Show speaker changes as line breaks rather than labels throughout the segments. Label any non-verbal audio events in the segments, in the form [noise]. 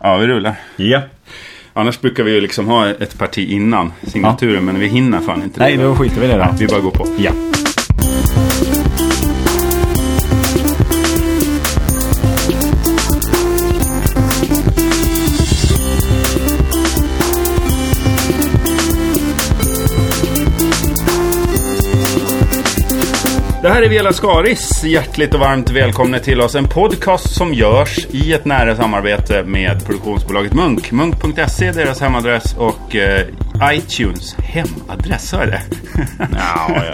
Ja, vi rullar.
Ja.
Annars brukar vi ju liksom ha ett parti innan signaturen, men vi hinner fan inte
Nej,
det.
då skiter vi i det då.
Vi bara går på.
Ja.
Det här är Vela Skaris. Hjärtligt och varmt välkomna till oss. En podcast som görs i ett nära samarbete med produktionsbolaget Munk. Munk.se är deras hemadress och eh, iTunes hemadress, sa jag det?
Ja, jag,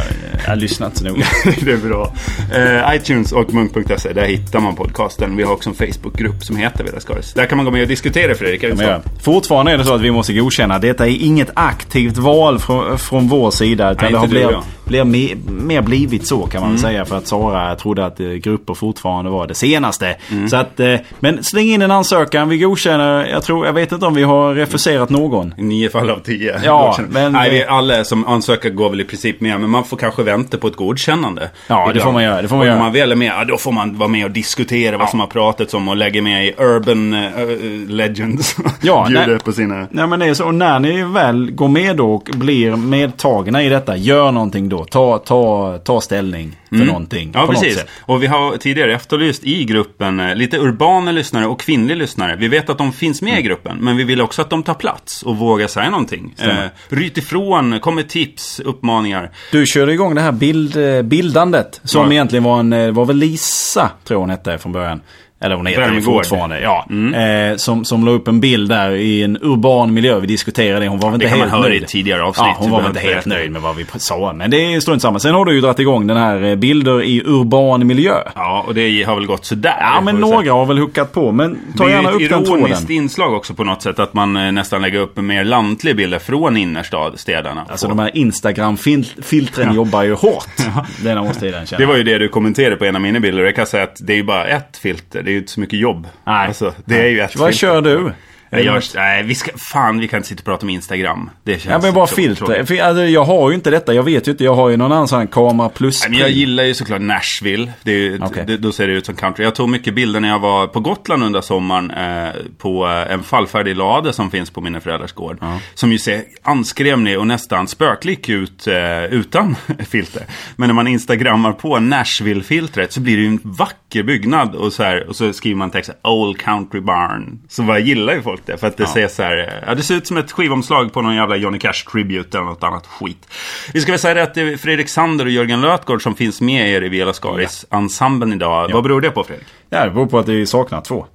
jag har lyssnat så noga.
[laughs] det är bra. Eh, iTunes och Munk.se, där hittar man podcasten. Vi har också en Facebookgrupp som heter Vela Skaris. Där kan man gå med och diskutera Fredrik. Är det
Men
så?
ja, fortfarande är det så att vi måste godkänna. Detta är inget aktivt val från, från vår sida. Utan
Nej,
det har
inte du och
blir,
jag.
blir me, mer blivit så kan man väl säga. För att Sara trodde att eh, grupper fortfarande var det senaste. Så att, eh, men släng in en ansökan. Vi godkänner. Jag, tror, jag vet inte om vi har refuserat någon.
I nio fall av tio.
Ja,
Godkänd.
men-
Nej, vi, alla som ansöker går väl i princip med, men man får kanske vänta på ett godkännande.
Ja, det
Ibland.
får man göra, det får man
och
göra.
Om man väl är med, ja, då får man vara med och diskutera vad som har pratats om och lägga med i Urban eh, eh, Legends.
[laughs] Ja,
Bjuder
nej.
på sina...
Nej men det är så. Och när ni väl går med då och blir medtagna i detta, gör någonting då. Ta, ta, ta ställning för någonting.
Ja,
på något
precis.
sätt.
Och vi har tidigare efterlyst i gruppen eh, lite urbana lyssnare och kvinnliga lyssnare. Vi vet att de finns
Mm.
med i gruppen, men vi vill också att de tar plats och vågar säga någonting. Eh, ryt ifrån, kom med tips, uppmaningar.
Du körde igång det här bild, eh, bildandet som
Ja.
egentligen var en, eh, var väl Lisa, tror jag hon hette från början. Eller hon heter det
Värmegård.
fortfarande. Ja. Eh, som, som la upp en bild där i en urban miljö. Vi diskuterade det. Hon var väl inte
kan man
helt
höra i
nöjd.
ett tidigare avsnitt.
Ja, hon var väl inte helt nöjd med vad vi sa. Men det är strunt samma. Sen har du ju dragit igång den här eh, bilder i urban miljö.
Ja, och det har väl gått sådär.
Ja, men
får vi
några har väl huckat på. Men
säga.
ta gärna
det är ju
upp
ett
den tråden.
ironiskt inslag också på något sätt. Att man eh, nästan lägger upp mer lantliga bilder från innerstäderna.
Alltså de här Instagram-filtren jobbar ju hårt. [laughs] Denna årstiden känner
Det
jag.
var ju det du kommenterade på en av mina bilder. Jag kan säga att det är ju bara ett filter. Det är ju inte så mycket jobb.
Nej.
Alltså, det är ju ett
Vad
filter.
kör du?
Jag gör, nej, vi ska, fan vi kan inte sitta och prata om Instagram. Det känns
Ja men bara
så
filter.
tråkigt.
För, alltså, jag har ju inte detta. Jag vet ju inte. Jag har ju någon annan sån här kamera plus.
Nej, men jag gillar ju såklart Nashville. Det är ju,
Okej.
det, då ser det ut som country. Jag tog mycket bilder när jag var på Gotland under sommaren eh, på eh, en fallfärdig lade som finns på mina föräldrars gård. Som ju ser anskrämlig och nästan spöklik ut eh, utan [laughs] filter. Men när man instagrammar på Nashville-filtret så blir det ju en vacker byggnad och så, här, och så skriver man texten Old Country Barn. Så vad gillar ju folk det. För att det ser så här, eh, ja, det ser ut som ett skivomslag på någon jävla Johnny Cash-tribute eller något annat skit. Vi ska väl säga det att det är Fredrik Sander och Jörgen Lötgård som finns med er i Vela Skaris-ensemblen idag. Vad beror det på Fredrik?
Ja, det beror på att det saknar två.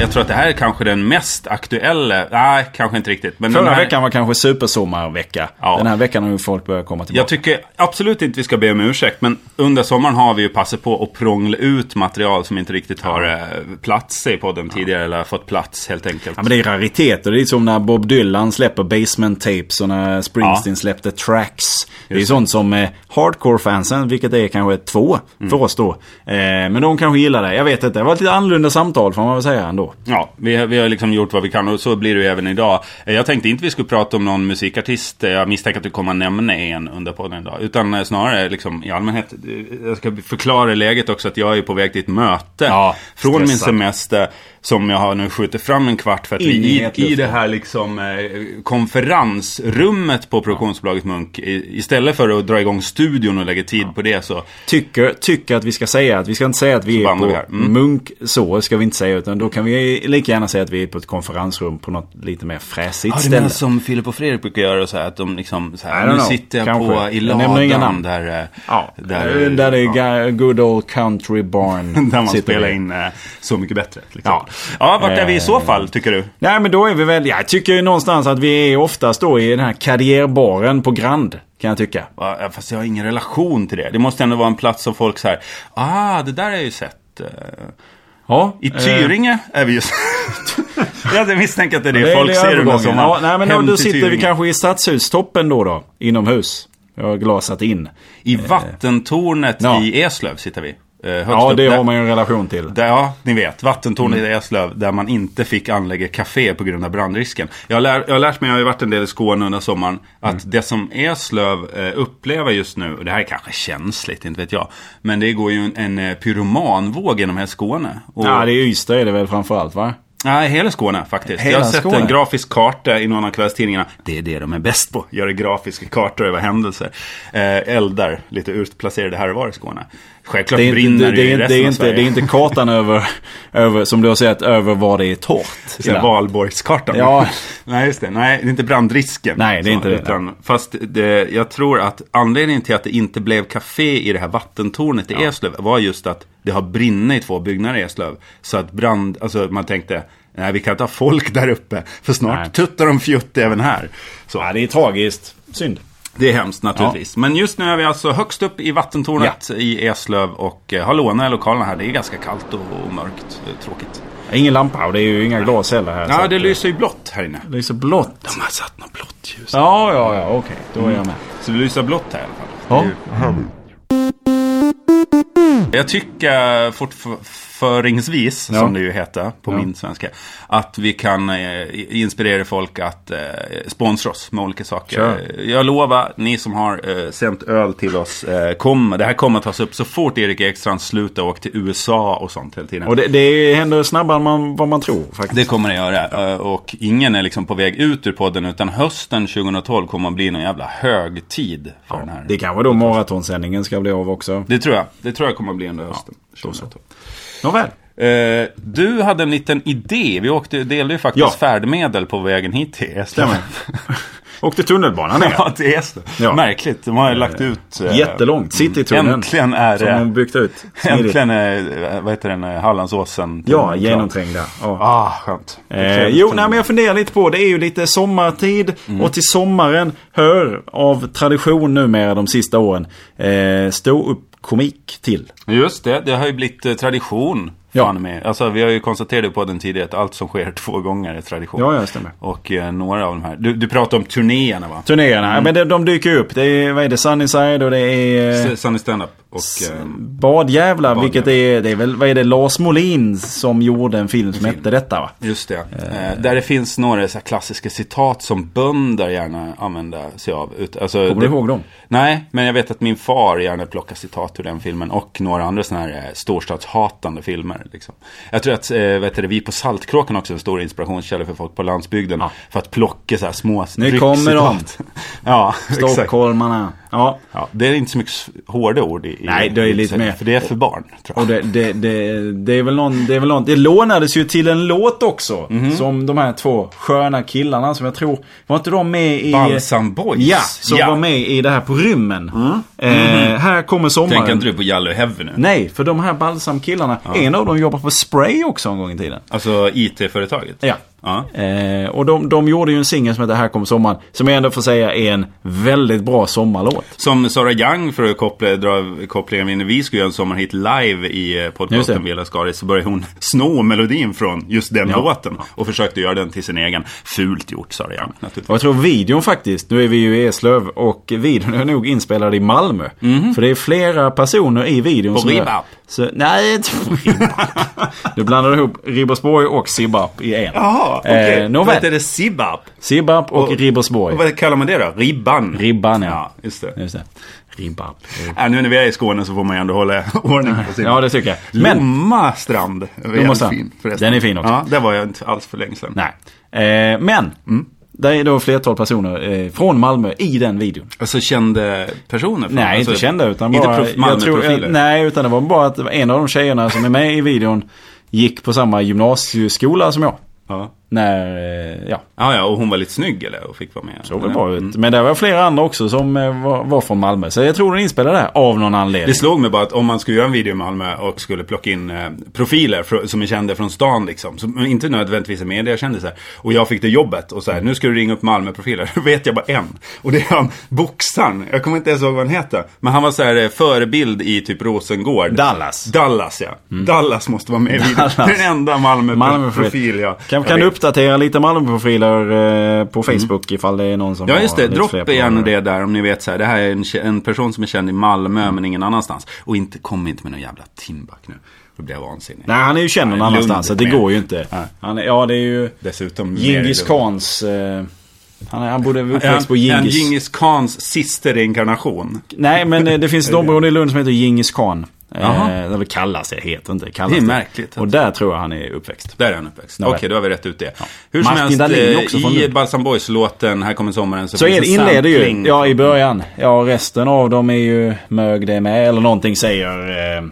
Jag tror att det här är kanske den mest aktuella, nej kanske inte riktigt. Men den
Förra
här,
veckan var kanske supersommarvecka.
Ja.
Den här veckan har ju folk börjat komma tillbaka.
Jag tycker absolut inte vi ska be om ursäkt, men under sommaren har vi ju passat på att prångla ut material som inte riktigt har eh, plats i podden tidigare, eller fått plats helt enkelt.
Ja, men det är rariteter. Det är som när Bob Dylan släpper basement tapes och när Springsteen släppte tracks. Det är ju sånt som eh, hardcore-fansen, vilket är kanske två
Mm.
för oss då. Eh, men de kanske gillar det. Jag vet inte. Det var ett lite annorlunda samtal får man väl säga ändå.
Ja, vi, har- vi har liksom gjort vad vi kan och så blir det ju även idag. Eh, Jag tänkte inte vi skulle prata om någon musikartist. eh, Jag misstänker att du kommer att nämna en under podden idag. Utan eh, snarare liksom i allmänhet. eh, Jag ska förklara läget också att jag är på väg till ett möte.
Ja,
från min
stressad.
semester. Som jag har nu skjutit fram en kvart för att
In i
vi i, i
hetluften.
det här liksom eh, konferensrummet på produktionsbolaget Munk. i- Istället för att dra igång studion och lägga tid på det så.
Tycker, tycker att vi ska säga att vi ska inte säga att vi är
bandar
på
vi här. Mm.
munk så ska vi inte säga utan då kan vi lika gärna säga att vi är på ett konferensrum på något lite mer fräsigt
Ja, det är
ställe.
mer som Filip och Fredrik brukar göra och så här, att de liksom så
I
här,
don't
nu
know,
sitter jag på
kanske.
i
Jag nämner inga
ladan
namn.
där, eh,
Ja, eh,
där,
där, där det är ga- good old country barn.
[laughs] där man
sitter
spelar
vi.
in eh, Så mycket bättre. Liksom. Ja.
Ja.
ja, vart är vi i
Eh.
så fall tycker du?
Nej men då är vi väl, jag tycker ju någonstans att vi är oftast då i den här karriärbaren på Grand. Kan jag tycka.
Ja, eh, Fast jag har ingen relation till det. Det måste ändå vara en plats som folk så här, ah, det där har jag ju sett. eh."
Ja. Eh,
I Tyringe är vi just... [laughs] jag hade misstänkt att det är det,
Det är
folk
det
ser under
övergången.
sommaren.
Ja, nej men då,
Hem
då
till
sitter vi
Tyringe.
kanske i stadshustoppen då då. Inomhus. Jag har glasat in.
I vattentornet
Ja.
i Eslöv sitter vi. Eh, högst
Ja,
upp
det
där-
har man ju en relation till.
där, ja, ni vet. Vattentornet
Mm.
i Eslöv där man inte fick anlägga café på grund av brandrisken. Jag, lär, jag har lärt mig, jag har ju varit en del i Skåne under sommaren, att
Mm.
det som Eslöv eh, upplever just nu, och det här är kanske känsligt, inte vet jag, men det går ju en, en eh, pyromanvåg genom hela Skåne. Och,
Ja, det är Ystad är det väl framförallt va?
Nej, hela Skåne faktiskt.
Hela
jag har sett
Skåne?
en grafisk karta i någon av kvällstidningarna. Det är det de är bäst på. Göra grafiska kartor över händelser. Eh, eldar lite utplacerade här och var i Skåne. Självklart
Det är inte,
brinner
det, det,
ju i
är,
resten
det, är
av
inte,
Sverige.
det är inte
[laughs]
kartan över, över, som du har sett, över vad det är torrt.
Så här Valborgskartan.
Ja.
[laughs] Nej, just det. Nej, det är inte brandrisken.
Nej, det är inte det.
Utan, fast det, jag tror att anledningen till att det inte blev café i det här vattentornet i Eslöv var just att det har brinnit i två byggnader i Eslöv. Så att brand, alltså man tänkte, nej vi kan inte ha folk där uppe. För snart
Nej.
tuttar de fjutt även här. Så.
Ja, det är tragiskt. Synd.
Det är hemskt naturligtvis. Men just nu är vi alltså högst upp i vattentornet i Eslöv och eh, har lånat lokalerna här. Det är ganska kallt och, och mörkt. eh, Tråkigt.
Ingen lampa och det är ju inga glas heller här. så
Ja,
att
det lyser ju blått här inne.
det lyser blått.
De har satt något blått ljus.
Ja, ja, ja, okej. Då är jag med.
Så det lyser blått här i alla fall.
Ja.
Jag tycker fortföringsvis,
Ja.
som det ju heter på min svenska, att vi kan eh, inspirera folk att eh, sponsra oss med olika saker.
Kör.
Jag lovar, ni som har eh, sänt öl till oss, eh, kommer, det här kommer att tas upp så fort Erik Ekstrand slutar åka till USA och sånt hela tiden.
Och det, det händer snabbare än man, vad man tror faktiskt.
Det kommer det göra. Eh, Och ingen är liksom på väg ut ur podden, utan hösten 2012 kommer att bli någon jävla högtid för den här.
Det är kanske då maratonsändningen ska bli av också.
Det tror jag. Det tror jag kommer att bli under hösten.
då så.
2012.
Nåväl.
Eh, du hade en liten idé. Vi åkte, delade ju faktiskt
Ja.
färdmedel på vägen hit till Eslöv.
Stämmer. Åkte tunnelbanan ner.
[laughs] ja, till Eslöv.
Ja.
Märkligt. De har ju lagt ut... eh,
Jättelångt. Citytunneln.
Äntligen är
Som de
det... [laughs]
byggt ut. Smidigt.
Äntligen är, eh, vad heter den, eh, Hallandsåsen.
Ja, genomträngda. Ja.
Ah, skönt. Det är
Eh,
trevligt.
jo, nej, men jag funderar lite på det. är ju lite sommartid och till sommaren hör av tradition numera de sista åren eh, stå upp komik till.
Just det, det har ju blivit eh, tradition.
Ja.
Fan med. Alltså, vi har ju konstaterat på den tidigare att allt som sker två gånger är tradition.
Ja, ja, det stämmer.
Och eh, några av de här. Du, du pratar om turnéerna va?
Turnéerna, ja, men de, de dyker ju upp. Det är, vad är det, Sunnyside och det är... eh,
S- Sunny Stand-Up och... eh,
Badjävlar, vilket är, det är väl, vad är det, Lars Molin som gjorde en film som hette detta va?
Just det. Eh, där det finns några så här klassiska citat som bönder gärna använder sig av. Ut, alltså,
Kommer du ihåg dem?
Nej, men jag vet att min far gärna plockar citat ur den filmen och några andra sådana här eh, storstadshatande filmer. Liksom. Jag tror att eh, vad heter det, vi på Saltkråkan också är en stor inspirationskälla för folk på landsbygden. För att plocka så här små
Nu kommer de.
ryckcitat. [laughs] ja, exakt.
Stockholmarna. Ja.
Ja, det är inte så mycket s- hårda ord i, i
Nej, det är lite mer-
För det är för barn, tror jag.
Och det, det, det, det är väl någon, det är väl någon, det lånades ju till en låt också. Som de här två sköna killarna som jag tror, var inte de med i...
Balsam Boys.
Ja, Mm. som var med i det här på rymmen. Eh, här kommer sommaren.
Tänker inte du på Yellow Heaven nu?
Nej, för de här balsamkillarna, en av dem jobbar på Spray också en gång i tiden.
Alltså IT-företaget?
Ja.
ja.
Eh, och de, de gjorde ju en singel som heter Här kommer sommaren. Som jag ändå får säga är en väldigt bra sommarlåt.
Som Sara Young, för att koppla, dra kopplingen vi- när vi skulle göra en sommarhit live i eh,
Just det.
podcasten Vela Skaris så började hon [laughs] sno melodin från just den låten. Och försökte göra den till sin egen. Fult gjort Sara Young
Och
naturligtvis.
jag tror videon faktiskt, nu är vi ju i Eslöv och videon är nog inspelad i Malmö. För det är flera personer i videon
Mhm. På
som... är-
Ribbarp.
Så, nej, inte på Ribbarp. Nu blandar du ihop Ribersborg och Sibbarp i en.
Jaha, okej.
eh,
Vad heter
Nåväl,
det? Sibab?
Sibbarp och, Ribersborg.
Och vad kallar man det då? Ribban?
Ribban ja.
Ja, just det.
Just det. Ribbarp.
Äh, nu när vi är i Skåne så får man ju ändå hålla [laughs] ordning på sin.
Ja, det tycker jag. Men,
Lomma strand. är jävligt
måste-
fin, förresten.
den är fin också.
Ja, där var jag inte alls för länge sedan.
nej. Eh, men,
Mm.
där är då flertal personer eh, från Malmö i den videon.
Alltså kände personer? från-
Nej,
alltså,
inte kända utan
inte
bara... eh,
prof- Malmöprofiler?
nej, utan det var bara att en av de tjejerna som är med i videon gick på samma gymnasieskola som jag.
Ja.
När, eh, ja,
Ja, ja, och hon var lite snygg eller? Och fick vara med.
såg väl bra ut. Men det var flera andra också som eh, var, var från Malmö. Så jag tror den inspelade det av någon
Det
anledning.
slog mig bara att om man skulle göra en video i Malmö och skulle plocka in eh, profiler fr- som är kända från stan liksom. Som inte nödvändigtvis är mediekändisar. Och jag fick det jobbet och så här, nu ska du ringa upp Malmöprofiler. [laughs] Då vet jag bara en. Och det är han, boxaren. Jag kommer inte ens ihåg vad han heter. Men han var så här eh, förebild i typ Rosengård.
Dallas. Mm.
Dallas ja. Dallas måste vara med i videon. [laughs] Det är Den enda Malmöprofil
Malmöprofil.
jag
Kan,
jag
kan
vet.
du
Mm.
uppdatera lite Malmöprofiler eh, på Facebook ifall det är någon som
Ja just det,
har lite
dropp
fler
igen
polare.
det där om ni vet så här. Det här är en, kä- en person som är känd i
Mm.
Malmö men ingen annanstans. Och inte, kom inte med någon jävla Timbuk nu. Då blir jag vansinnig.
Nej, han är ju känd någon
Nej,
annanstans. Så
Lund
det
med.
går ju inte. Han är, ja, det är ju
Dessutom
Djingis Khans... Eh, han, är- han borde vara
En,
uppväxt på
en
Djingis.
Djingis Khans sista reinkarnation.
Nej, men eh, det finns ett område i Lund som heter Djingis Khan.
Jaha.
Eh, eller kallas det, heter inte. Kallas
Det är märkligt,
Och där tror jag han är uppväxt.
Där är han uppväxt.
Nej.
Okej, då har vi rätt ut det. Hur som
Martin Dahlin är
helst,
också
eh,
från
i
Lund.
Balsam Boys-låten Här kommer sommaren
Så
finns
är det,
en
inleder ju.
sampling.
Ja, i början. Ja, resten av dem är ju mög det med. Eller någonting säger eh,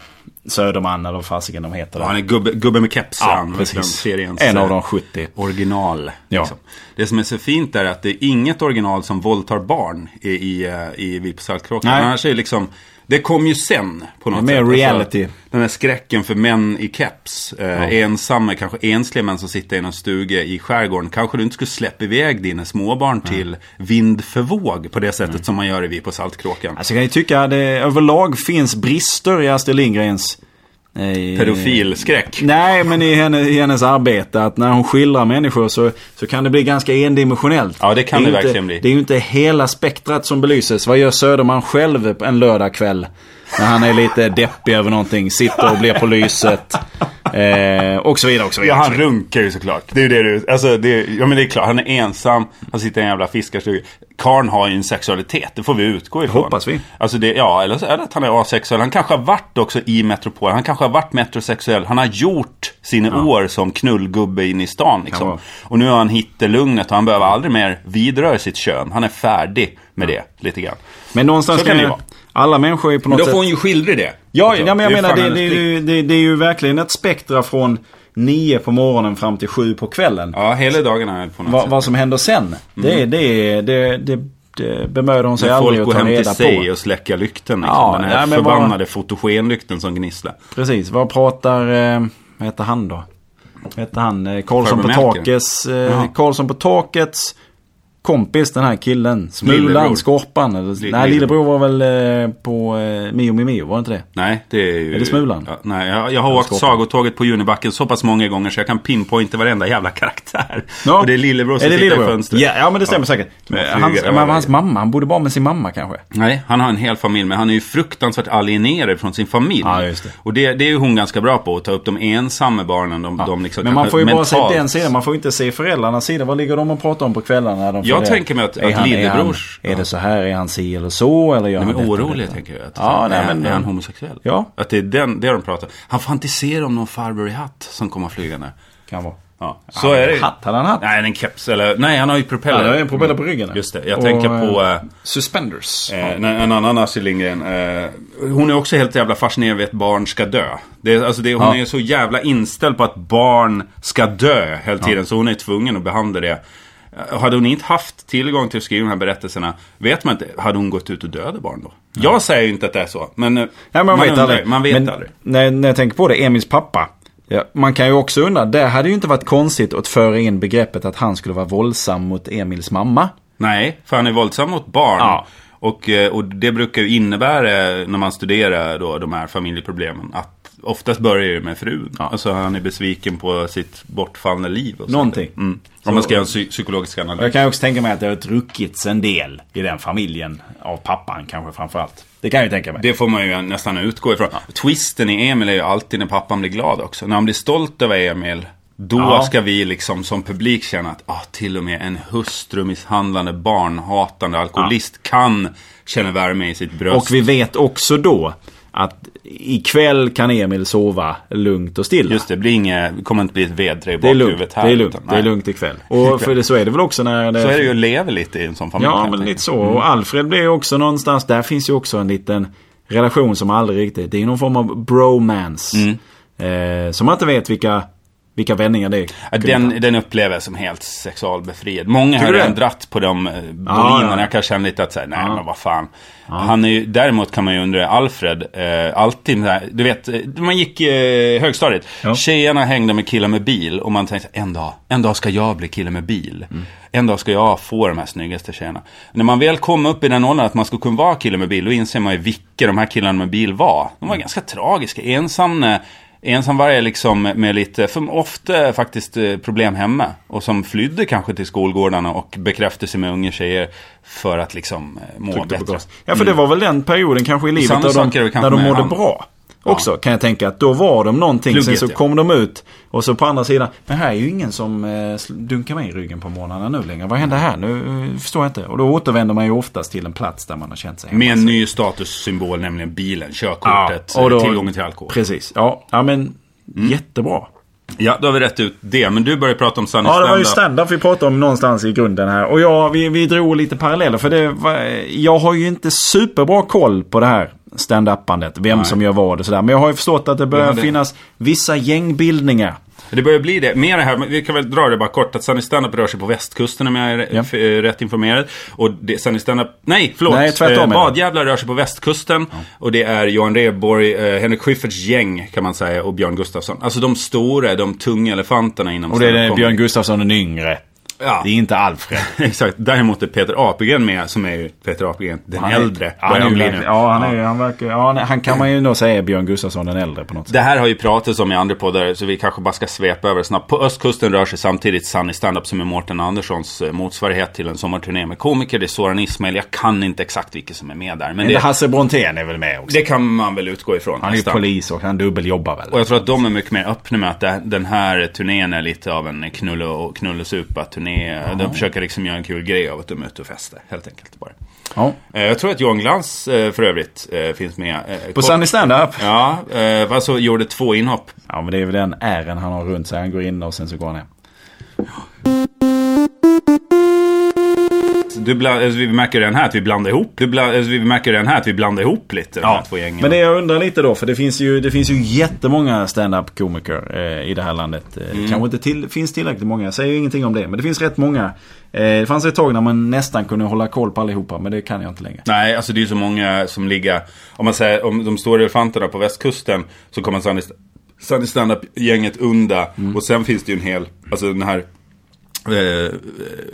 Söderman eller vad fasiken de heter.
Ja,
där.
Han är gubbe, gubbe med keps.
Ja,
han,
precis.
verkligen seriens,
En av
eh,
de 70.
Original. liksom.
Ja.
Det som är så fint är att det är inget original som våldtar barn i, i, eh, i Vi på Saltkråkan.
Nej.
Annars är det liksom, det kom ju sen på något
Det är
sätt.
mer
Alltså,
reality.
den här skräcken för män i keps. Eh, Ensamma, kanske ensliga män som sitter i någon stuga i skärgården. Kanske du inte skulle släppa iväg dina småbarn till vind för våg på det sättet som man gör i Vi på Saltkråkan.
Alltså jag kan ju tycka att det överlag finns brister i Astrid Lindgrens... eh,
Pedofilskräck.
Nej, men i hennes, i hennes arbete. Att när hon skildrar människor så, så kan det bli ganska endimensionellt.
Ja, det kan
är
det
ju inte,
verkligen bli.
Det är ju inte hela spektrat som belyses. Vad gör Söderman själv en lördagkväll? När han är lite deppig över någonting. Sitter och blir
[laughs]
på lyset. Eh, och så vidare och så
Ja,
vidare.
han runkar ju såklart. Det är ju det du... Alltså, det är, ja, men det är klart. Han är ensam. Han sitter i en jävla fiskarstuga. Karn har ju en sexualitet. Det får vi utgå ifrån.
hoppas vi.
Alltså det, ja, eller så är det att han är asexuell. Han kanske har varit också i Metropol. Han kanske har varit metrosexuell. Han har gjort sina år som knullgubbe in i stan.
Kan
Liksom.
vara.
Och nu har han hittat lugnet och han behöver aldrig mer vidröra sitt kön. Han är färdig med det, lite grann.
Men någonstans
Så kan
kan
det
ju-
vara.
Alla människor är på något
Då
sätt...
får hon ju skildra det.
Ja,
Alltså,
ja men jag
det är
menar
fan
det,
hennes
det, är
plikt.
ju, det, det är ju verkligen ett spektra från nio på morgonen fram till sju på kvällen.
Ja, hela dagen är på något
Va,
sätt.
vad som händer sen, det, det, det, det, det bemöder hon sig
Mm. När
aldrig
folk
att
går
ta
hem till
reda
sig
på.
och släcka lykten. Liksom.
Ja,
den här
nej, men vad-
förbannade fotogenlykten som gnisslar.
Precis, vad pratar, eh, vad heter han då? Vad heter han? Eh, Karlsson på
Farbror Melker.
takets, eh,
Ja.
Karlsson på takets kompis den här killen.
Lillebror.
Smulan, Skorpan. Eller, nej, lillebror var väl eh, på eh, Mio Mio Mio, var det inte det?
Nej, det är ju...
Är det Smulan?
Ja, nej, jag, jag har åkt
Skåpen.
sagotåget på Junibacken så pass många gånger så jag kan pinpointa varenda jävla karaktär.
Ja.
Och det är lillebror som
Är det
sitter i
lillebror?
fönstret.
Ja, ja men det stämmer säkert.
Men
Men Hans,
flygare
men
var
hans
det.
mamma, han borde vara med sin mamma kanske.
Nej, han har en hel familj, men han är ju fruktansvärt alienerad från sin familj.
Ja, just det.
Och det, det är ju hon ganska bra på, att ta upp de ensamma barnen. De, de liksom
men man
kanske
får ju bara se
mentalt-
den sidan. Man får ju inte se föräldrarnas sida. Vad ligger de och pratar om på kvällarna? När de
Jag
funderar?
tänker mig att-
Är
att
han- är
lillebrors-
han- Är det så här? Är han si eller så? Eller gör
De är
han detta och
oroliga
detta?
tänker jag. Att,
Ja, nej,
är,
men-
är han homosexuell?
Ja.
Att det är den, det de pratar om. Han fantiserar om någon farbror i hatt som kommer flygande.
Kan vara.
Ja, så är det ju.
Hatt, hade han hatt?
Nej, en keps. Eller, nej, han har ju propeller.
Han har ju en propeller på ryggen.
Just det. Jag tänker på... eh,
Suspenders.
Eh, en, en annan Astrid Lindgren. Eh, hon är också helt jävla fascinerad över att barn ska dö. Det, är- alltså det, hon
Ja.
är så jävla inställd på att barn ska dö hela tiden. Så hon är tvungen att behandla det. Eh, Hade hon inte haft tillgång till att skriva de här berättelserna, vet man inte, hade hon gått ut och dödat barn då? Jag säger ju inte att det är så, men eh,
Nej, man, vet
undrar,
aldrig.
Man vet
men,
aldrig.
När, när jag tänker på det, Emils pappa. Ja, man kan ju också undra, det hade ju inte varit konstigt att föra in begreppet att han skulle vara våldsam mot Emils mamma.
Nej, för han är våldsam mot barn.
Ja.
Och, eh, och det brukar ju innebära, när man studerar då, de här familjeproblemen, att oftast börjar det med frun. Alltså han är besviken på sitt bortfallna liv. Och så.
Någonting.
Mm. Om man ska göra en psy- psykologisk
Och Jag
analys.
kan ju också tänka mig att det har druckits en del i den familjen. Av pappan kanske framförallt. Det kan jag ju tänka mig.
Det får man ju nästan utgå ifrån. Twisten i Emil är ju alltid när pappan blir glad också. När han blir stolt över Emil, då
Ja.
ska vi liksom som publik känna att ah, till och med en hustrumisshandlande, barnhatande alkoholist kan känna värme i sitt bröst.
Och vi vet också då att ikväll kan Emil sova lugnt och stilla.
Just det, det blir inget, det kommer inte bli ett vedre i
det är lugnt.
bakhuvudet här.
det är lugnt.
utan-
det är
nej.
lugnt ikväll. Och för det, så är det väl också när det...
Så är det ju Mm. att leva lite i en sån familj.
Ja,
helt
men
enkelt.
lite så. Och Alfred blir ju också någonstans, där finns ju också en liten relation som aldrig riktigt... Det är ju någon form av
Mm.
bromance. Eh, som man inte vet vilka, vilka vändningar det
Ja, Den, den upplever jag som helt sexualbefriad. Många har
du
redan
det?
dratt på de eh, bolinerna.
ja.
Jag kan känna lite att säga, nej men vad fan. Han är ju, däremot kan man ju undra, Alfred, eh, alltid så här, du vet, eh, man gick eh, högstadiet.
Ja.
Tjejerna hängde med killar med bil och man tänkte, så här, en dag, en dag ska jag bli kille med bil.
Mm.
En dag ska jag få de här snyggaste tjejerna. När man väl kom upp i den åldern att man skulle
Mm.
kunna vara kille med bil, då inser man ju vilka de här killarna med bil var. De var ganska tragiska, ensam En som var liksom med lite, för ofta faktiskt eh, problem hemma. Och som flydde kanske till skolgårdarna och bekräftade sig med unga tjejer. För att liksom eh, må
Tryckte på
bättre.
gas. Ja, för det var väl den perioden kanske i livet
Samma
där
sak är
de,
det kanske
där de
med
mådde
han.
bra. Också kan jag tänka att då var de någonting, sen
Plugget,
så
ja.
kom de ut och så på andra sidan. Men här är ju ingen som eh, sl- dunkar mig i ryggen på morgnarna nu längre. Vad hände här? Nu eh, förstår jag inte. Och då återvänder man ju oftast till en plats där man har känt sig hemma.
Mm. Med en ny statussymbol, nämligen bilen, körkortet, eh,
och då-
tillgången till alkohol. Mm.
Precis. Ja, ja men jättebra.
Ja, då har vi rätt ut det. Men du började prata om Sunny
Ja, det var ju
Stand-Up.
standup vi pratade om någonstans i grunden här. Och ja, vi, vi drog lite paralleller för det var, jag har ju inte superbra koll på det här stand-upandet. Vem som gör vad och sådär. Men jag har ju förstått att det börjar
Ja, det-
finnas vissa gängbildningar.
Det börjar bli det. Mer det här, men vi kan väl dra det bara kort. Att Sunny Stand-Up rör sig på västkusten om jag är
Ja.
f- eh, rätt informerad. Och det, Sunny Stand-Up, nej förlåt. Eh,
Nej, tvärtom är det.
Badjävlar rör sig på västkusten. Och det är Johan Rheborg, eh, Henrik Schyfferts gäng kan man säga och Björn Gustafsson. Alltså de stora, de tunga elefanterna inom
Och det är
stand-up
Björn
comedy.
Gustafsson den yngre.
Ja.
Det är inte Alfred.
[laughs] Exakt. Däremot är Peter Apelgren med, som är ju Peter Apelgren, den äldre.
Ja,
börjar
han,
han
är,
bli
ju-
nu.
ja, han, är, han verkar... Ja, nej, han kan man ju nog säga är Björn Gustafsson den äldre på något sätt.
Det här har ju pratats om i andra poddar, så vi kanske bara ska svepa över det snabbt. På östkusten rör sig samtidigt Sunny Standup som är Mårten Anderssons eh, motsvarighet till en sommarturné med komiker. Det är Soran Ismail, jag kan inte exakt vilka som är med där. Men
Det,
det,
Hasse Brontén är väl med också?
det kan man väl utgå ifrån.
han är ju
nästan.
polis och han dubbeljobbar väl?
Och jag tror att de är mycket mer öppna med att det- den här turnén är lite av en knull och, knull och supa-turné. De försöker liksom göra en kul grej av att de är ute och festar, helt enkelt bara.
Ja.
Eh, Jag tror att Johan Glans eh, för övrigt eh, finns med. eh,
På
kort-
Sunny Stand-Up?
Ja, eh, alltså gjorde två inhopp
Ja, men det är väl den ären han har runt sig. Han går in och sen så går han hem.
Du bland, alltså, vi märker den här att vi blandar ihop. Du bland, alltså, vi märker den här att vi blandar ihop lite. De här två gängen.
Men det jag undrar lite då, för det finns ju, det finns ju jättemånga stand-up komiker eh, i det här landet. Eh,
Mm.
Det kanske inte till, finns tillräckligt många, jag säger ju ingenting om det. Men det finns rätt många. Eh, det fanns ett tag när man nästan kunde hålla koll på allihopa, men det kan jag inte längre.
Nej, alltså det är ju så många som ligger... Om man säger om de stora elefanterna på västkusten så kommer Sunny, Sunny Standup-gänget undan. Och sen finns det ju en hel... Alltså den här... Eh,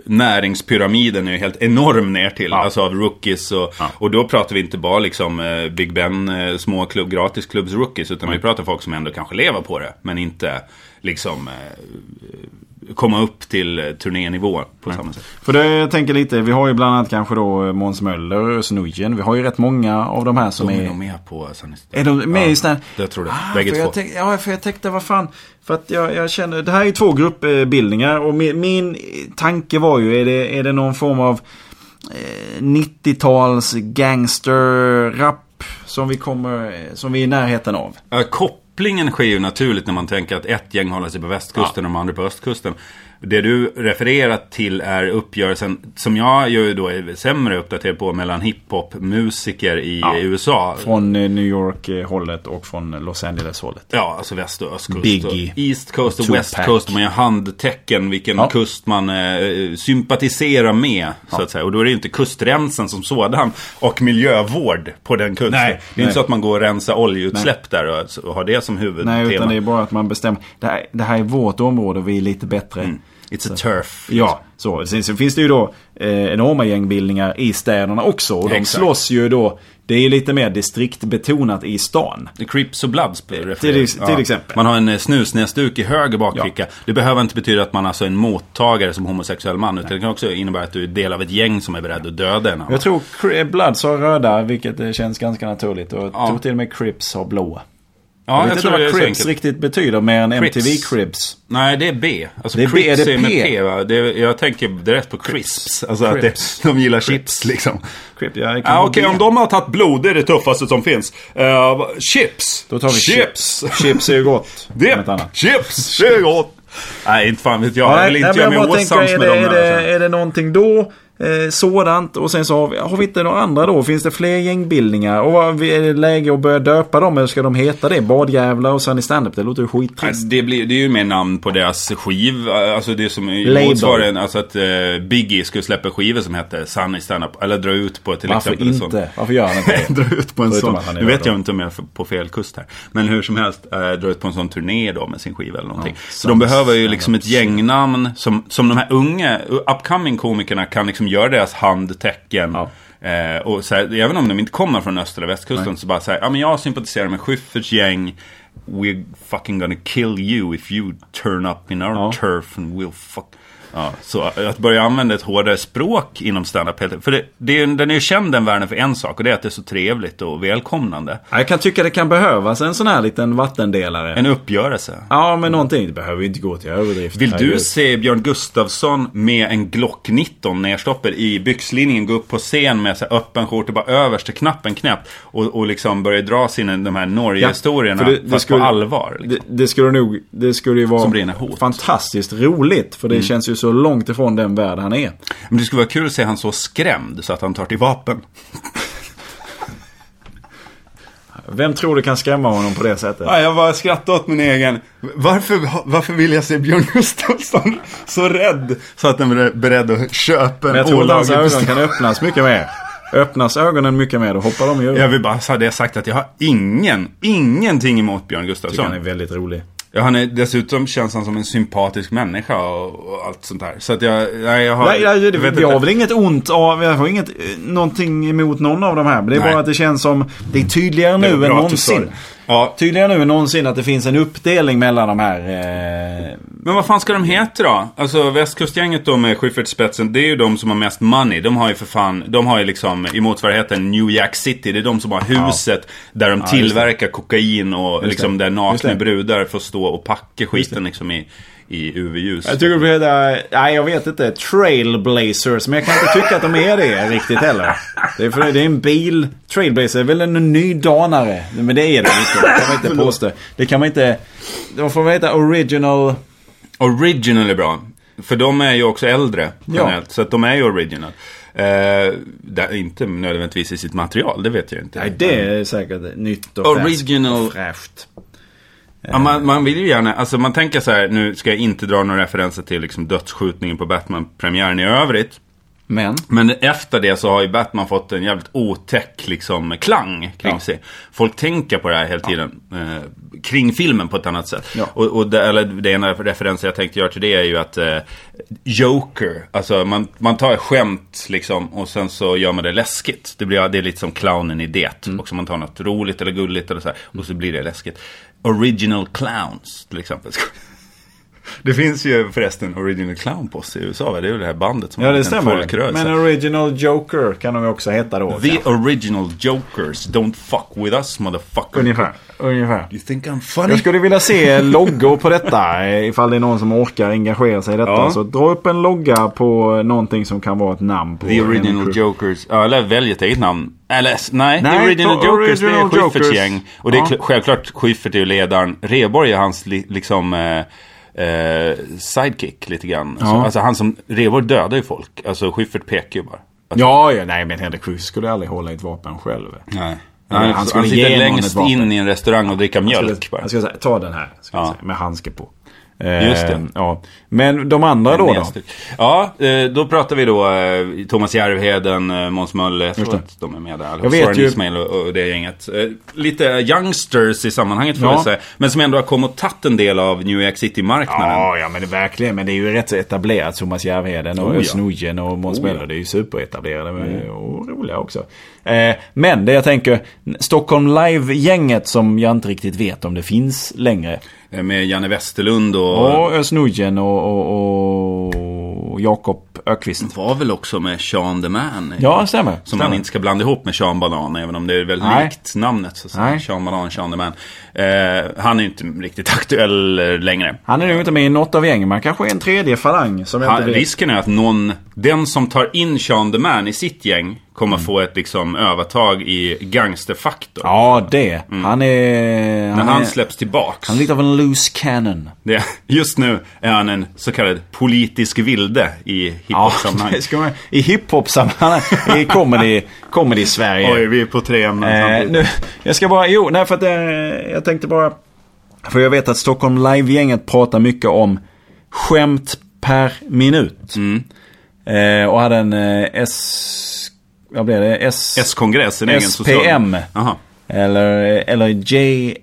näringspyramiden är ju helt enorm ner till. Alltså av rookies och, och då pratar vi inte bara liksom eh, Big Ben, eh, små klubb, gratisklubbs rookies. Utan vi pratar folk som ändå kanske lever på det. Men inte liksom eh, komma upp till eh, turnénivå på samma sätt.
För det jag tänker lite, vi har ju bland annat kanske då eh, Måns Möller och Özz Nujen. Vi har ju rätt många av de här som
De är
är...
nog med på Sunny Stand-Up.
Är de med
Ja,
i stand
det tror jag.
Ah,
Bägge
för
två.
Jag tänkte, ja, för jag tänkte vad fan. För att jag, jag känner, det här är ju två gruppbildningar och min, min tanke var ju, är det, är det någon form av eh, 90-tals gangster-rap som vi kommer, eh, som vi är i närheten av?
Ja, kopplingen sker ju naturligt när man tänker att ett gäng håller sig på västkusten och de andra på östkusten. Det du refererar till är uppgörelsen, som jag ju då är sämre uppdaterad på, mellan hiphop-musiker i USA.
Från eh, New York-hållet och från Los Angeles-hållet.
Ja, alltså väst och östkust.
Biggie.
Och East Coast och
Tupac.
West Coast. Man gör handtecken vilken
Ja.
kust man eh, sympatiserar med. Så att säga. Och då är det ju inte kustremsen som sådan och miljövård på den kusten.
Nej,
det är
nej.
inte så att man går och rensar oljeutsläpp där och, och har det som huvudtema.
Nej, utan det är bara att man bestämmer. Det här, det här är vårt område, vi är lite bättre.
Mm. It's a turf.
Ja, så. Sen så finns det ju då eh, enorma gängbildningar i städerna också. Och de
Exakt.
slåss ju då. Det är ju lite mer distriktbetonat i stan.
The Crips och Bloods till,
till exempel.
Man har en eh, snusnäsduk i höger bakficka. Det behöver inte betyda att man alltså är en mottagare som homosexuell man. Utan det kan också innebära att du är del av ett gäng som är beredd att döda en annan.
Jag tror Cri- Bloods har röda, vilket eh, känns ganska naturligt. Och jag tror till och med Crips har blåa. jag
Ja,
vet
jag
inte
tror det är
vad
så
Crips
enkelt.
riktigt betyder mer än
Crips.
MTV Crips.
Nej, det är B. Alltså
Det är B,
Crips
är det
är med
P?
P, va? Det är, jag tänker direkt på crisps. Alltså att
Crips.
det, de gillar chips liksom.
Crips, ja, det kan
Ja,
vara
Okej,
B.
om de har tagit blod, det är det tuffaste som finns. Eh, vad- chips!
Då tar vi chips. Chips är ju [laughs] gott. om
Det,
ett annat.
chips, det är gott. Nej, inte fan vet jag. Jag vill inte göra
men
mig
jag bara tänker,
osams
är
med
det,
dem.
är,
där,
det,
alltså.
är det någonting då? Eh, sådant och sen så har vi, har vi inte några andra då? Finns det fler gängbildningar? Och vad- är det läge att börja döpa dem? Eller ska de heta det? Badjävlar och Sunny Standup? Det låter ju skittrist.
Alltså, det, blir, det är ju mer namn på deras skiv. Alltså det som
Label.
i motsvarigheten, alltså att eh, Biggie skulle släppa skivor som hette Sunny Stand-Up. Eller dra ut på till
Varför
exempel. en sån-
inte? Varför gör
[laughs]
han inte det?
dra ut på en
Förutom
sån.
att han är
Nu vet
röd.
jag inte om jag är på fel kust här. Men hur som helst, eh, dra ut på en sån turné då med sin skiva eller någonting. Så de
Sunny
behöver ju liksom ett gängnamn som, som de här unga, upcoming komikerna kan liksom göra deras handtecken. Eh, och så här, även om de inte kommer från östra västkusten så bara säga, ja men jag sympatiserar med Schyfferts gäng. We're fucking gonna kill you if you turn up in our
Ja.
turf and we'll fuck... Ja, så att börja använda ett hårdare språk inom standup. För det, det, är ju- den är ju känd den världen för en sak och det är att det är så trevligt och välkomnande.
Ja, Jag kan tycka det kan behövas en sån här liten vattendelare.
En uppgörelse.
Ja, men någonting. Det behöver ju inte gå till överdrift.
Vill du
Herregud.
se Björn Gustafsson med en Glock 19 nerstoppad i byxlinningen gå upp på scen med så här öppen shorts och bara överste knappen knäppt och, och liksom börja dra sina de här Norge-historierna
Ja, för det- det
fast
skulle-
på allvar. Liksom.
Det, det skulle nog, det skulle ju
Som rena Mm.
vara
hot.
fantastiskt roligt. För det känns ju så långt ifrån den värld han är.
Men det skulle vara kul att se han så skrämd så att han tar till vapen.
Vem tror du kan skrämma honom på det sättet?
Ja, jag bara skrattar åt min egen. Varför, varför vill jag se Björn Gustafsson så rädd så att den är beredd att köpa en
Men jag tror att hans
olaglig
ögon
pistol?
kan öppnas mycket mer. Öppnas ögonen mycket mer, då hoppar de ju
Jag
ur.
vill bara så hade jag sagt att jag har ingen, ingenting emot Björn Gustafsson.
Han är väldigt rolig.
Ja, han är, dessutom känns han som en sympatisk människa och, och allt sånt där. Så att jag, nej, jag har...
Nej, nej, det,
jag vet
vi
inte.
har väl inget ont av, vi har inget, eh, någonting emot någon av de här. Men det är
Nej.
bara att det känns som, det är tydligare
Det var
nu än
bra att du sa
någonsin.
det. Ja,
Tydligare nu än någonsin att det finns en uppdelning mellan de här. Eh,
men vad fan ska de heta då? Alltså västkustgänget då med Schyffert i spetsen, det är ju de som har mest money. De har ju för fan, de har ju liksom i motsvarigheten New Jack City. Det är de som har huset där de tillverkar kokain och liksom
det.
där
Just
nakna
det.
brudar får stå och packa skiten liksom i, i UV-ljus.
jag tycker de heter, nej jag vet inte, trailblazers. Men jag kan inte tycka att de är det riktigt heller. Det är, för, det är en bil, trailblazer är väl en ny danare. Men det är det inte, det kan man inte påstå. Det kan man inte, de får väl heta original...
Original är bra. För de är ju också äldre
Ja.
generellt. Så att de är ju original. Eh, där, inte nödvändigtvis i sitt material, det vet jag inte.
Nej det är säkert nytt och
Original.
färskt. och Fräscht.
ja, man, man vill ju gärna, alltså man tänker så här, nu ska jag inte dra några referenser till liksom dödsskjutningen på Batman-premiären i övrigt.
Men.
Men efter det så har ju Batman fått en jävligt otäck liksom, klang kring
Ja.
sig. Folk tänker på det här hela tiden. Eh, kring filmen på ett annat sätt.
Ja.
Och, och det, eller, det ena referensen jag tänkte göra till det är ju att eh, Joker, alltså man, man tar ett skämt liksom och sen så gör man det läskigt. Det, blir, det är lite som clownen i det.
Mm.
Också man tar något roligt eller gulligt eller så här, och så blir det läskigt. Original clowns till exempel. [laughs] Det finns ju förresten Original Clown på sig i USA, va? det är ju det här bandet som
Ja
har
det
en
stämmer.
folkrörelse.
Men original joker kan de ju också heta då.
The
kanske.
original jokers, don't fuck with us motherfucker.
Ungefär. Ungefär.
You think I'm funny?
Jag skulle vilja se loggor på detta. eh, Ifall det är någon som orkar engagera sig i detta.
Ja.
Så dra upp en logga på någonting som kan vara ett namn på.
The
en
original
crew.
jokers, ja, eller välj ett eget namn. Eller s- nej,
Nej,
The original
The
jokers det är
Original
Schyfferts
Jokers.
gäng. Och det är
Ja.
kl- självklart Schyffert är ju ledaren. Rheborg är hans li- liksom eh, eh, sidekick lite grann. Alltså,
Ja.
alltså han som, Rheborg dödar ju folk. Alltså Schyffert pekar ju bara. Alltså,
Ja, ja, nej men Henrik Schyffert skulle aldrig hålla i ett vapen själv.
nej.
Han
Alltså, Han, han,
skulle ge
sitter
någon
längst
ett vapen.
in i en restaurang och dricker
Jag
mjölk
skulle,
bara.
jag skulle säga, ta den här. Skulle jag
Ja.
säga, med handske på.
Just det.
Eh, Ja. Men de andra då? då?
Ja, eh, då pratar vi då eh, Thomas Järvheden, eh, Måns Möller, jag tror att de är med där. Jag
vet
Soran
ju-
Ismail och, och det gänget. Eh, Lite youngsters i sammanhanget får
Ja.
jag säga. Men som ändå har kommit och tagit en del av New York City-marknaden.
Ja, ja men det, verkligen. Men det är ju rätt så etablerat. Thomas Järvheden
Oh, ja.
och
Oh, Mm.
Özz Nujen och Måns Möller. Det är ju superetablerade men- och roliga också. Eh, men det jag tänker, Stockholm Live-gänget som jag inte riktigt vet om det finns längre.
Eh, Med Janne Westerlund och...
Och Özz Nujen och, och, och Jakob Ökvist.
Var väl också med Sean the Man.
Ja, stämmer.
Som
stämmer.
man inte ska blanda ihop med Sean Banan, även om det är väldigt
Nej.
likt namnet. Så att säga.
Nej.
Sean Banan, Sean the Man. Eh, han är ju inte riktigt aktuell eh, längre.
Han är nog inte med i något av gängen, men han kanske är en tredje falang som jag
Han,
inte vet.
risken är att någon, den som tar in Sean the Man i sitt gäng kommer
Mm.
få ett liksom övertag i gangsterfaktor.
Ja, det. Han är...
När
Han,
Mm. han
är,
släpps tillbaks.
han är lite av en loose cannon.
Det, just nu är han en så kallad politisk vilde i
Ja,
hiphop-sammanhang.
det ska man, i hiphop-sammanhang. I comedy, comedy-Sverige.
Oj, vi är på tre ämnen
Eh,
samtidigt.
nu, jag ska bara, jo, nej för att eh, jag tänkte bara. För jag vet att Stockholm Live-gänget pratar mycket om skämt per minut.
Mm.
Eh, och hade en eh, S... Vad blev det? S...
S-kongress, en egen
SPM.
social... Jaha.
Eller, eller JSM.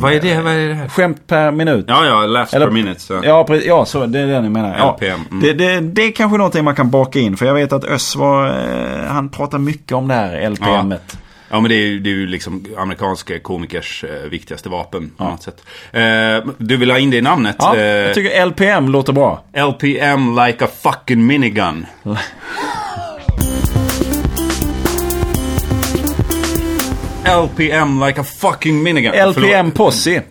Vad är det? Vad är det här?
Skämt per minut.
Ja, ja, laughs per minute. Så.
Ja, precis, ja så, det är det ni menar. Ja.
LPM, mm.
Det, det, det är kanske någonting man kan baka in. För jag vet att Öss var, eh, han pratar mycket om det här LPMet.
Ja, men det är ju, det är ju liksom amerikanska komikers eh, viktigaste vapen. På något sätt. Eh, du vill ha in det i namnet?
Ja,
Eh,
jag tycker LPM låter bra.
LPM like a fucking minigun. LPM like a fucking minigun.
LPM Posse.
Mm.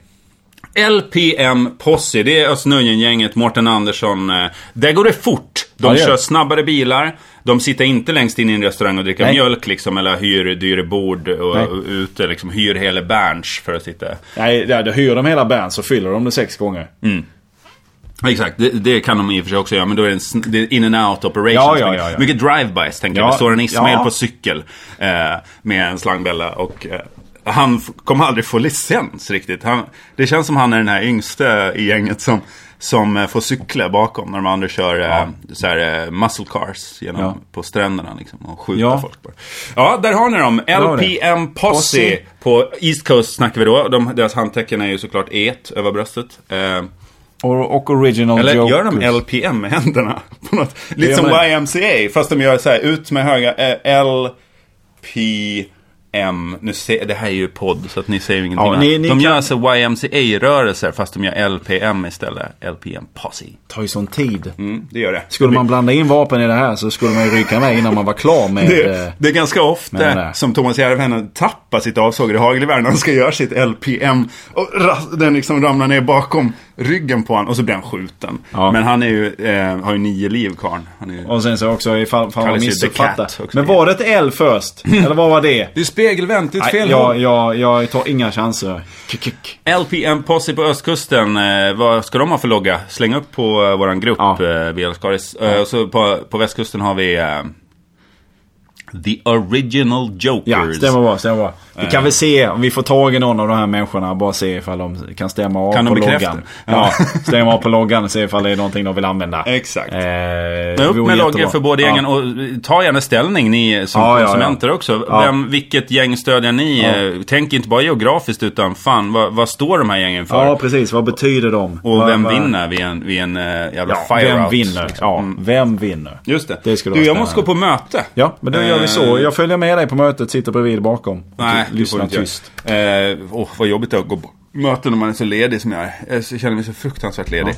Förlåt. LPM Posse. Det är Östnöjen-gänget, Mårten Andersson. eh, Där går det fort.
Ja,
De
det gör
kör
det.
snabbare bilar. De sitter inte längst in i en restaurang och dricker
Nej.
mjölk liksom. Eller hyr dyra bord och,
Nej.
och ute liksom. Hyr hela Berns för att sitta.
Nej, där, då hyr de hela band så fyller de det sex gånger.
Mm. Exakt, det, det kan de i och för sig också göra, men då är det, en, sn- det är in and out operations.
Ja, ja, ja, ja.
Mycket drive-bys, tänker
Ja,
jag. Det står en Ismail
ja.
på cykel eh, med en slangbella och eh, han f- kommer aldrig få licens riktigt. Han, det känns som han är den här yngste i gänget som, som eh, får cykla bakom när de andra kör eh, så här, eh, muscle cars genom,
Ja.
på stränderna liksom, och skjuta
Ja.
folk. Bara. Ja, där har ni dem.
har ni.
LPM Posse.
Posse.
På East Coast snackar vi då. De, deras handtecken är ju såklart E över bröstet. Eh,
Och, och original
eller
jokers.
gör de LPM med händerna? [laughs] På något, lite
gör
som
man.
YMCA, fast de gör så här ut med höga eh, LPM. Nu ser, det här är ju podd, så att ni säger ingenting.
Ja,
annat.
ni- ni
de
kan-
gör alltså YMCA-rörelser, fast de gör LPM istället. LPM Posse.
tar ju sån tid.
Mm, det gör det.
Skulle man blanda in vapen i det här så skulle man ju rycka med innan man var klar med... eh,
Det, det är ganska
Men
ofta
det-
som Thomas Järvheden tappar sitt avsågade hagelgevär när han ska göra sitt LPM. Och ras- den liksom ramlar ner bakom ryggen på honom och så blir han skjuten.
Ja.
Men han är ju, eh, har ju nio liv karln. Han är ju...
Och sen så också ifall ifall man
Kallas ju The
missuppfattar.
Cat också.
Men var det ett L först? Eller vad var det?
Det är spegelvänt, det är ett
Nej,
fel
jag,
håll.
jag, jag tar inga chanser. K-k-k.
LPM Posse på östkusten, eh, vad ska de ha för logga? Släng upp på eh, våran grupp,
Ja.
eh, VL Skaris. Eh, och så på, på västkusten har vi eh, The Original
Ja,
Jokers.
stämmer bra, stämmer bra. Vi
Eh.
kan väl se, om vi får tag i någon av de här människorna, bara se ifall de kan stämma av
Kan de
på
bekräfta?
loggan. Ja, stämma av på loggan och se ifall det är någonting de vill använda.
Exakt.
Eh,
Men
det
upp
vore
med
jättebra.
loggen för båda gängen och eh, ta gärna ställning ni som
Ja, ja, ja.
konsumenter också.
Ja.
Vem, vilket gäng stödjer ni? Eh, Tänk inte bara geografiskt utan fan vad, vad står de här gängen för?
Ja. ja, precis. Vad betyder de?
Och
Vad-
vem
vad-
vinner vid en, vid en eh, jävla
Ja,
fire liksom. Mm.
vem
out?
vinner? Ja, vem vinner?
Just det.
Det skulle
du,
vara
jag måste gå på möte. Eh,
Ja, men då gör vi så. Jag följer med dig på mötet, sitter bredvid bakom. Och
Nej, det får du
lyssnar
inte
tyst.
tyst. Åh, eh, åh, vad jobbigt det är att gå på möten när man är så ledig som jag är. Eh, så Jag känner mig så fruktansvärt ledig.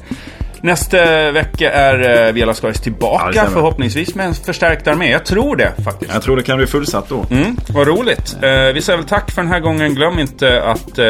Nästa vecka är eh, Viola Skaris
Ja, det
tillbaka,
stämmer.
förhoppningsvis med en förstärkt armé. Jag tror det faktiskt.
Jag tror det kan bli fullsatt då.
Mm, vad roligt. Eh, vi säger väl tack för den här gången. Glöm inte att eh,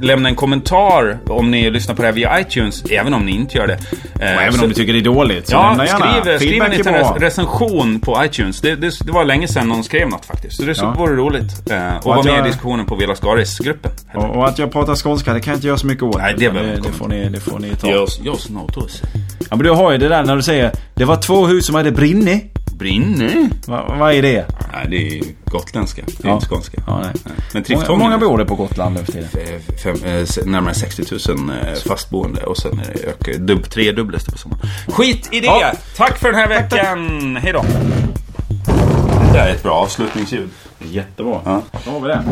lämna en kommentar om ni lyssnar på det här via iTunes, även om ni inte gör det. Eh,
Och även
så-
om du tycker det är dåligt, så
Ja,
lämna gärna.
skriv, skriv en
Feedback är
liten
bra.
rec- recension på iTunes. Det, det, det var länge sedan någon skrev något faktiskt. Så det
Ja.
vore roligt. Eh, och
Och
var
att
med
jag-
i diskussionen på Vela Skaris-gruppen.
Och, och att jag pratar skånska, det kan jag inte göra så mycket åt.
Nej, det behöver
det,
inte
det, får ni, det får ni ta.
Just notos.
Ja, men du har ju det där när du säger det var två hus som hade brinne.
Brinner?
Va, vad är det?
Nej, det är ju gotländska. Det är
Ja.
inte skånska. Eh,
Ja, nej.
Men
Många,
Triftongen...
många bor det på Gotland nu för tiden.
eh, Fem, eh, se- närmare 60 000 eh, fastboende och sen är det ökar, dubb, tredubblas det på sommaren. Skit i det!
Ja.
Tack för den här veckan! Hej då! Det där är ett bra avslutningsljud.
Jättebra.
Ja.
Då har vi det.